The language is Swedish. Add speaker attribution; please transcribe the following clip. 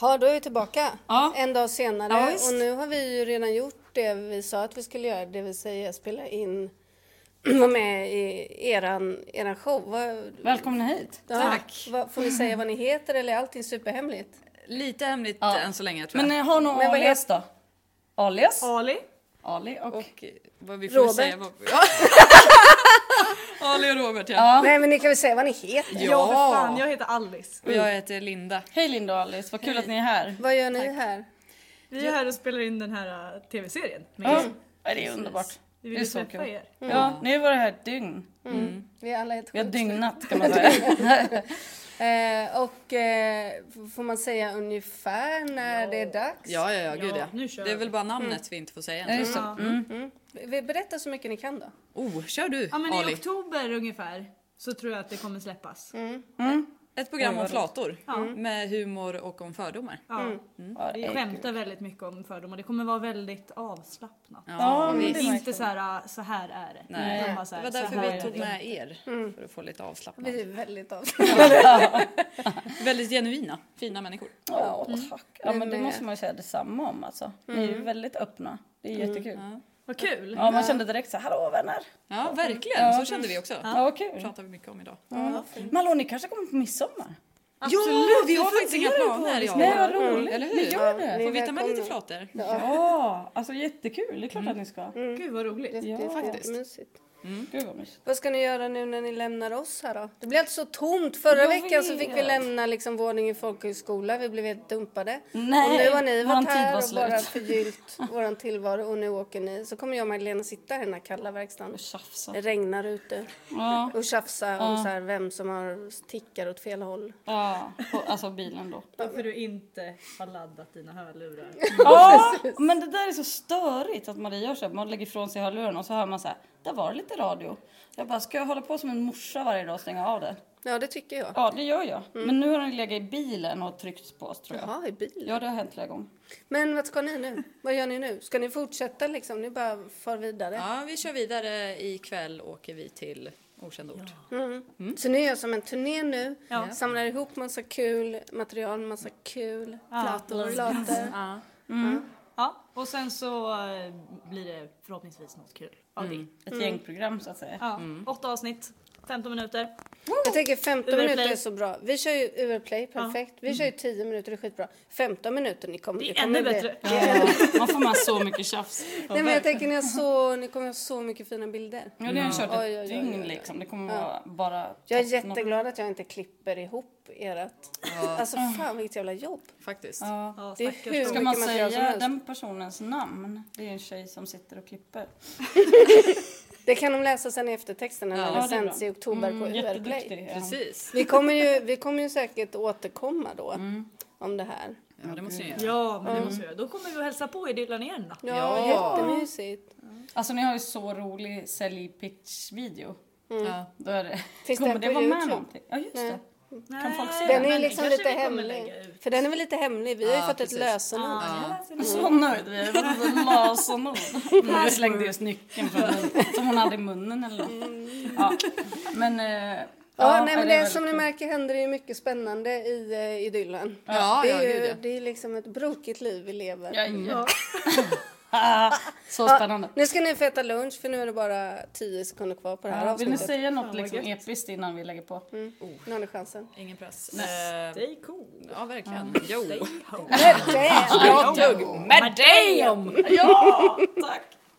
Speaker 1: Ja, då är vi tillbaka
Speaker 2: Ja.
Speaker 1: en dag senare.
Speaker 2: Ja, visst.
Speaker 1: och nu har vi ju redan gjort det vi sa att vi skulle göra, det vill säga spela in, vara med i eran, eran show. Vad,
Speaker 2: Välkomna hit.
Speaker 1: ja,
Speaker 3: Tack.
Speaker 1: Vad, får vi säga vad ni heter eller är allting superhemligt?
Speaker 3: Lite hemligt
Speaker 2: Ja.
Speaker 3: än så länge tror
Speaker 2: Men
Speaker 3: jag.
Speaker 2: eh, har någon
Speaker 1: Men vad
Speaker 2: alias då? Alias?
Speaker 4: Ali.
Speaker 2: Ali och...
Speaker 3: och eh, vad vi får
Speaker 1: Robert.
Speaker 3: säga. Vad... Ja. Ali och Robert ja.
Speaker 2: Ja.
Speaker 1: Nej, men ni kan väl säga vad ni heter?
Speaker 3: Ja.
Speaker 4: Ja för fan, jag heter Alice.
Speaker 3: Och jag heter Linda.
Speaker 2: Hej Linda och Alice, vad kul att ni är här.
Speaker 1: Vad gör ni här?
Speaker 4: Vi är här och spelar in den här äh, tv-serien. med
Speaker 2: Ja,
Speaker 4: er.
Speaker 2: Ja, det är underbart.
Speaker 4: Vi
Speaker 2: det är
Speaker 4: vill
Speaker 2: så
Speaker 4: träffa
Speaker 2: kul.
Speaker 4: er.
Speaker 2: Ja, ni har varit här ett dygn.
Speaker 1: Vi är alla helt
Speaker 2: Vi har
Speaker 1: sjukt.
Speaker 2: dygnat kan man säga.
Speaker 1: eh, Och eh, f- får man säga ungefär när det är dags?
Speaker 3: Ja, ja, ja, gud
Speaker 4: Ja,
Speaker 3: ja.
Speaker 4: nu kör
Speaker 3: det är
Speaker 4: vi. Eh.
Speaker 3: väl bara namnet vi inte får säga
Speaker 2: Ja,
Speaker 3: än.
Speaker 2: just det. Mm.
Speaker 1: Vi- Berätta så mycket ni kan då.
Speaker 3: Oh, kör du
Speaker 4: Ja men i
Speaker 3: Ali.
Speaker 4: oktober ungefär så tror jag att det kommer släppas.
Speaker 3: Ett program
Speaker 2: Oj,
Speaker 3: om
Speaker 2: vad roligt.
Speaker 3: flator. Med humor och om fördomar.
Speaker 4: Ja.
Speaker 2: Ja, det
Speaker 4: Vi
Speaker 2: är
Speaker 4: skämtar väldigt mycket om fördomar. Det kommer vara väldigt avslappnat.
Speaker 2: Ja, men
Speaker 3: visst.
Speaker 2: det märker
Speaker 4: Inte så här, äh, så här är det.
Speaker 3: Nej.
Speaker 4: Utan bara så
Speaker 3: Det
Speaker 4: här,
Speaker 3: var
Speaker 4: så
Speaker 3: därför
Speaker 4: här
Speaker 3: vi
Speaker 4: är
Speaker 3: tog
Speaker 4: det. Mm.
Speaker 3: med er. För att få lite avslappnat.
Speaker 1: Vi är väldigt avslappnade.
Speaker 3: Väldigt genuina, fina människor.
Speaker 2: Ja, tack. Ja, men det
Speaker 1: Men, eh,
Speaker 2: måste man ju säga detsamma om alltså. Ni är ju väldigt öppna. Det är jättekul.
Speaker 4: Vad kul!
Speaker 2: Mm. Ja, man kände direkt så här, hallå vänner.
Speaker 4: Mm.
Speaker 3: Ja, verkligen. Så kände vi också.
Speaker 2: Ja, vad kul.
Speaker 3: Det pratar vi mycket om idag.
Speaker 2: Ja. Men hallå, ni kanske kommer på midsommar?
Speaker 4: Absolut,
Speaker 3: ja, vi har
Speaker 4: jag
Speaker 3: faktiskt inga
Speaker 4: funderar på
Speaker 3: planer.
Speaker 4: det.
Speaker 3: Ja.
Speaker 2: Nej, vad roligt.
Speaker 3: Eller
Speaker 2: Ni
Speaker 3: hur?
Speaker 2: gör
Speaker 3: Ja,
Speaker 2: det.
Speaker 1: ni
Speaker 3: Får vi ta med lite
Speaker 1: välkomna.
Speaker 3: flator?
Speaker 2: Ja, Mm. alltså jättekul. Det är klart att ni ska.
Speaker 4: Gud vad roligt.
Speaker 1: Det är faktiskt mysigt.
Speaker 2: Gud vad mysigt.
Speaker 1: Vad ska ni göra nu när ni lämnar oss här då? Det blev alltså så tomt. Förra
Speaker 2: Jag
Speaker 1: veckan så
Speaker 2: vet.
Speaker 1: fick vi lämna liksom våningen i folkhögskola. Vi blev helt dumpade.
Speaker 2: Nej,
Speaker 1: och nu har ni
Speaker 2: våran
Speaker 1: varit
Speaker 2: tid
Speaker 1: här
Speaker 2: var
Speaker 1: och
Speaker 2: slut.
Speaker 1: bara förgyllt våran tillvaro och nu åker ni. Så kommer jag och Magdalena sitta här i den här kalla verkstaden.
Speaker 2: Tjafsa.
Speaker 1: Det regnar ute
Speaker 2: Ja,
Speaker 1: och tjafsa om så här vem som har tickar åt fel håll.
Speaker 2: ja. På, alltså bilen då.
Speaker 4: Varför du inte har laddat dina hörlurar.
Speaker 2: Ja, men det där är så störigt att Marie gör så. här. Man lägger ifrån sig hörlurarna och så hör man så här. Där var det lite radio. Jag bara, ska jag hålla på som en morsa varje dag och stänga av den?
Speaker 1: Ja, det tycker jag.
Speaker 2: Ja, det gör jag. Men nu har den legat i bilen och tryckts på oss tror jag.
Speaker 1: Mm. Jaha, i bilen.
Speaker 2: Ja, det har hänt flera gånger.
Speaker 1: Men vad ska ni nu? Vad gör ni nu? Ska ni fortsätta liksom? Ni bara far vidare?
Speaker 3: Ja, vi kör vidare. Ikväll åker vi till okänd ort.
Speaker 1: Så ni gör som en turné nu,
Speaker 4: Mm. Ja.
Speaker 1: samlar ihop massa kul material, massa kul flator. flator.
Speaker 3: Ja.
Speaker 4: Ja, och sen så eh, blir det förhoppningsvis något kul av det.
Speaker 2: Ett
Speaker 1: Mm.
Speaker 2: gängprogram så att säga.
Speaker 4: Ja, Åtta avsnitt, 15 minuter.
Speaker 1: Jag tänker 15
Speaker 4: Uberplay.
Speaker 1: minuter är så bra. Vi kör ju Uberplay, perfekt. Vi kör ju 10 minuter, det är skitbra. 15 minuter, ni kommer...
Speaker 4: Mm. Det är
Speaker 1: kommer
Speaker 4: ännu
Speaker 1: bli-
Speaker 4: bättre.
Speaker 2: Ja, man får med så mycket tjafs.
Speaker 1: Nej, men jag tänker ni, har så, ni kommer ha så mycket fina bilder.
Speaker 2: Ja, det har jag kört
Speaker 1: Oj, oj, oj,
Speaker 2: ett
Speaker 1: oj,
Speaker 2: dygn
Speaker 1: oj.
Speaker 2: liksom. Det kommer vara bara...
Speaker 1: Jag är
Speaker 2: toppen av-
Speaker 1: jätteglad att jag inte klipper ihop ert... Alltså fan vilket jävla jobb.
Speaker 3: Faktiskt.
Speaker 2: Ja.
Speaker 4: Ja,
Speaker 1: Det är
Speaker 4: stackars
Speaker 1: hur-
Speaker 4: dem.
Speaker 2: Ska man
Speaker 1: mycket material som
Speaker 2: säga
Speaker 1: helst.
Speaker 2: den personens namn? Det är en tjej som sitter och klipper.
Speaker 1: Det kan de läsa sen i eftertexterna när
Speaker 3: Ja,
Speaker 1: det
Speaker 2: det är
Speaker 1: sänds
Speaker 2: bra. Mm,
Speaker 1: i oktober
Speaker 4: Mm,
Speaker 1: på Uberplay.
Speaker 2: Jätteduktig. Ja.
Speaker 3: Precis.
Speaker 1: Vi kommer, ju, vi kommer ju säkert återkomma då
Speaker 4: Mm.
Speaker 1: om det här.
Speaker 3: Ja, det måste ni göra.
Speaker 4: Ja, men det måste jag göra. Då kommer vi och hälsa på er Dylan igen då.
Speaker 1: Ja,
Speaker 3: Ja.
Speaker 1: jättemysigt.
Speaker 2: Alltså ni har ju så rolig säljpitch-video.
Speaker 3: Ja.
Speaker 2: Då är det...
Speaker 1: Finns
Speaker 2: kommer
Speaker 1: den
Speaker 2: det
Speaker 1: på
Speaker 2: vara
Speaker 1: YouTube?
Speaker 2: med någonting? Ja just
Speaker 1: Nej.
Speaker 2: det. Kan folk se
Speaker 1: Den är ju
Speaker 4: Men det
Speaker 1: liksom
Speaker 4: kanske
Speaker 1: lite
Speaker 4: vi kommer
Speaker 1: hemlig.
Speaker 4: lägga ut.
Speaker 1: För den är väl lite hemlig? Vi har ju
Speaker 3: Ja,
Speaker 1: fått
Speaker 3: precis.
Speaker 1: ett lösenord.
Speaker 2: Så nöjd vi är. Vi la sån ord. Hon slängde just nyckeln från munnen, som hon hade i munnen eller något. Ja. Men... eh,
Speaker 1: Ja, nej, men
Speaker 2: är
Speaker 1: det,
Speaker 2: väldigt
Speaker 1: som ni
Speaker 2: kul.
Speaker 1: märker händer det ju mycket spännande i eh, idyllen.
Speaker 3: Ja,
Speaker 1: det,
Speaker 3: ja,
Speaker 1: är
Speaker 3: gud,
Speaker 1: ju,
Speaker 3: ja.
Speaker 1: det är liksom ett brokigt liv vi lever.
Speaker 2: Ja, ja. Ah, så spännande.
Speaker 1: Nu ska ni få äta lunch för nu är det bara 10 sekunder kvar på det här
Speaker 2: Ja, vill ni
Speaker 1: avsnittet.
Speaker 2: säga något liksom episkt innan vi lägger på?
Speaker 1: Nu har ni chansen.
Speaker 3: Ingen press. Eh,
Speaker 4: Stay cool.
Speaker 3: ja, verkligen. Jo.
Speaker 1: Damn!
Speaker 3: Bra tugg. Med dig om!
Speaker 2: Ja, tack!